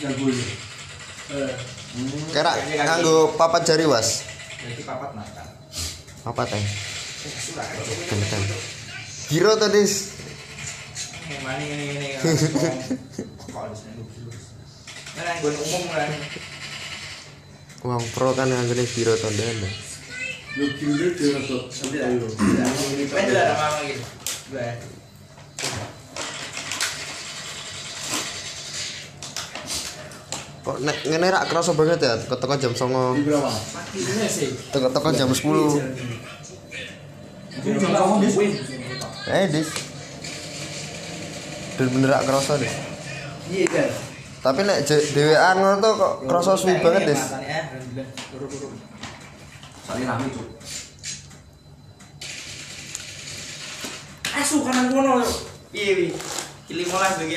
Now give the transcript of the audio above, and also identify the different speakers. Speaker 1: jambul eh
Speaker 2: Kerak nganggo papat jari was.
Speaker 3: Jadi papat makan.
Speaker 2: Papat teh.
Speaker 3: Eh, surah.
Speaker 2: Genteng. Giro to dis.
Speaker 3: Yang mana ini ini. Kalau di sini dulu. Nah, yang gue umum kan.
Speaker 2: Wong pro kan nganggone giro to ndene.
Speaker 1: yo gilune dhewe kok sampe yo
Speaker 3: Main dulu ada mama gitu. Gue.
Speaker 2: Kok nek ngene rak kerasa banget ya keteko jam 09.00.
Speaker 1: berapa
Speaker 3: Mati ini Iya sih.
Speaker 2: Teko-teko jam 10. Eh dis. Bener-bener rak kerasa deh.
Speaker 3: Iya kan.
Speaker 2: Tapi nek je- dhewean ngono tuh kok kerasa suwi banget dis.
Speaker 3: Turun-turun.
Speaker 4: Soalnya rame cuk.
Speaker 3: Eh, Asu kanan kono. Iya. Kili molas bagi